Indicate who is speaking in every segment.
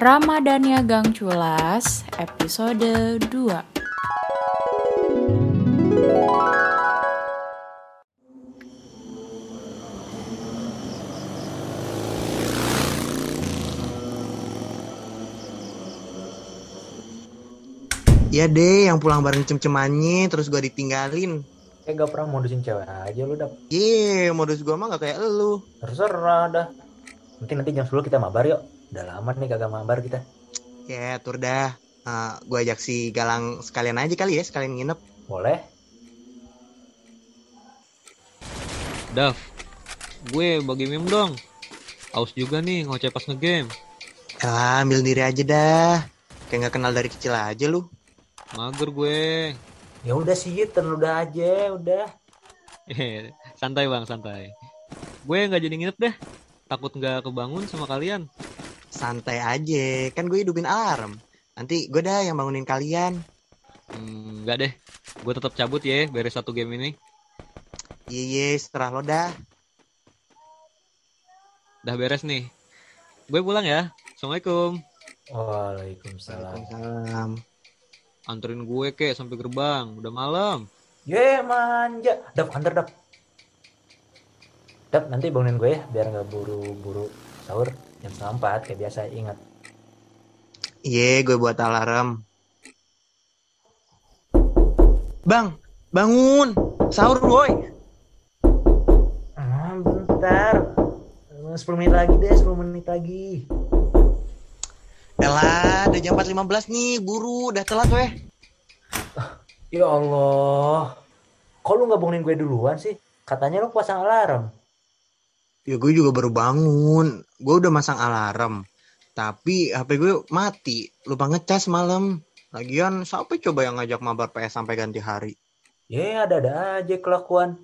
Speaker 1: Ramadhania Gang Culas, episode 2.
Speaker 2: Iya deh, yang pulang bareng cem-cemannya, terus gua ditinggalin.
Speaker 3: Eh gak pernah modusin cewek aja lu dap
Speaker 2: Yeay, modus gua mah gak kayak elu.
Speaker 3: Terserah dah Nanti nanti jam 10 kita mabar yuk Udah lama nih kagak mabar kita
Speaker 2: Ya, tur dah. Eh, gua ajak si Galang sekalian aja kali ya, sekalian nginep.
Speaker 3: Boleh?
Speaker 4: Dav, gue bagi meme dong. Aus juga nih ngoceh pas ngegame.
Speaker 2: Elah, Ya, ambil diri aja dah. Kayak gak kenal dari kecil aja lu.
Speaker 4: Mager gue.
Speaker 3: Ya udah sih Ethan, udah aja udah
Speaker 4: Eh, santai bang, santai. Gue nggak jadi nginep deh. Takut nggak kebangun sama kalian.
Speaker 2: Santai aja, kan gue hidupin alarm. Nanti gue dah yang bangunin kalian.
Speaker 4: Hmm, nggak deh. Gue tetap cabut ya beres satu game ini.
Speaker 2: Yeay, serah Iya, lo dah.
Speaker 4: Dah beres nih. Gue pulang ya. Assalamualaikum.
Speaker 3: Waalaikumsalam
Speaker 2: Waalaikumsalam.
Speaker 4: Anterin gue kek sampai gerbang. Udah malam.
Speaker 3: Ye manja Dap antar dap Dap nanti bangunin gue ya Biar gak buru-buru sahur Jam setengah empat kayak biasa ingat
Speaker 2: Iya, gue buat alarm. Bang, bangun. Sahur, woi.
Speaker 3: ah, Bentar 10 menit lagi deh 10 menit lagi
Speaker 2: Elah, udah jam 4.15 nih, buru, udah telat weh.
Speaker 3: Ya Allah Kok lu gak bangunin gue duluan sih? Katanya lu pasang alarm
Speaker 2: Ya gue juga baru bangun, gue udah masang alarm. Tapi HP gue mati, lupa ngecas malam. Lagian siapa coba yang ngajak mabar PS sampai ganti hari?
Speaker 3: Ya ada-ada aja kelakuan.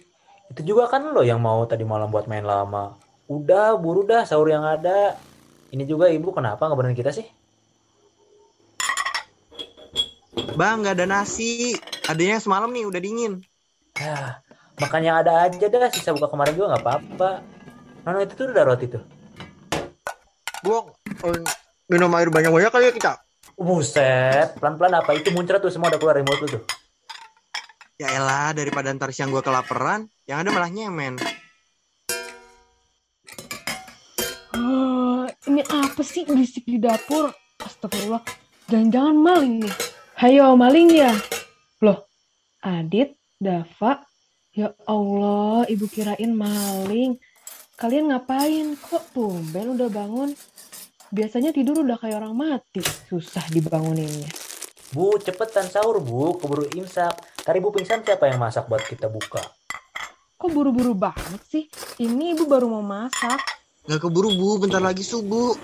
Speaker 3: Itu juga kan lo yang mau tadi malam buat main lama. Udah buru dah sahur yang ada. Ini juga ibu kenapa nggak benerin kita sih?
Speaker 2: Bang, gak ada nasi. Adanya semalam nih, udah dingin.
Speaker 3: Yah, makanya ada aja dah sisa buka kemarin juga nggak apa-apa. Nono itu tuh udah roti tuh.
Speaker 2: Gue oh, minum air banyak-banyak kali ya kita.
Speaker 3: Buset, pelan-pelan apa itu muncrat tuh semua udah keluar dari mulut lu tuh.
Speaker 2: Ya elah, daripada ntar siang gue kelaparan, yang ada malah nyemen.
Speaker 5: Eh, ini apa sih berisik di dapur? Astagfirullah. Jangan-jangan maling nih. Hayo maling ya. Loh, Adit, Dafa. Ya Allah, ibu kirain maling. Kalian ngapain? Kok tumben udah bangun? Biasanya tidur udah kayak orang mati. Susah dibanguninnya.
Speaker 3: Bu, cepetan sahur bu, keburu imsak. Tadi bu pingsan siapa yang masak buat kita buka?
Speaker 5: Kok buru-buru banget sih? Ini ibu baru mau masak.
Speaker 2: Gak keburu, Bu. Bentar lagi subuh.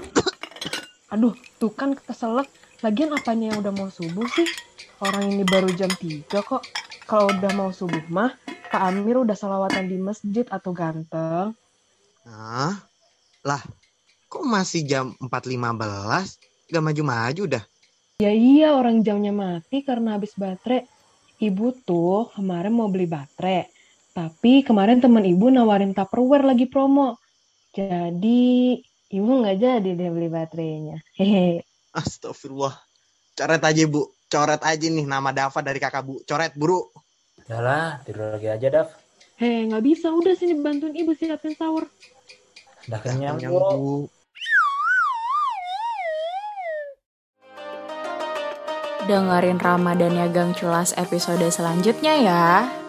Speaker 5: Aduh, tuh kan keselak. Lagian apanya yang udah mau subuh sih? Orang ini baru jam 3 kok. Kalau udah mau subuh mah, Pak Amir udah salawatan di masjid atau ganteng.
Speaker 2: Nah, lah, kok masih jam 4.15? Gak maju-maju dah.
Speaker 5: Ya iya, orang jamnya mati karena habis baterai. Ibu tuh kemarin mau beli baterai. Tapi kemarin teman ibu nawarin Tupperware lagi promo. Jadi, ibu nggak jadi deh beli baterainya. Hehehe.
Speaker 2: Astagfirullah. Coret aja, Bu. Coret aja nih nama Dava dari kakak Bu. Coret, buru.
Speaker 3: Udah lah, tidur lagi aja Dav.
Speaker 5: Hei, nggak bisa. Udah sini bantuin ibu siapin sahur.
Speaker 2: Dah
Speaker 3: Udah kenyang,
Speaker 2: kenyang,
Speaker 3: Ya, bu.
Speaker 2: Bu.
Speaker 1: Dengerin Ramadhania Gang Culas episode selanjutnya ya.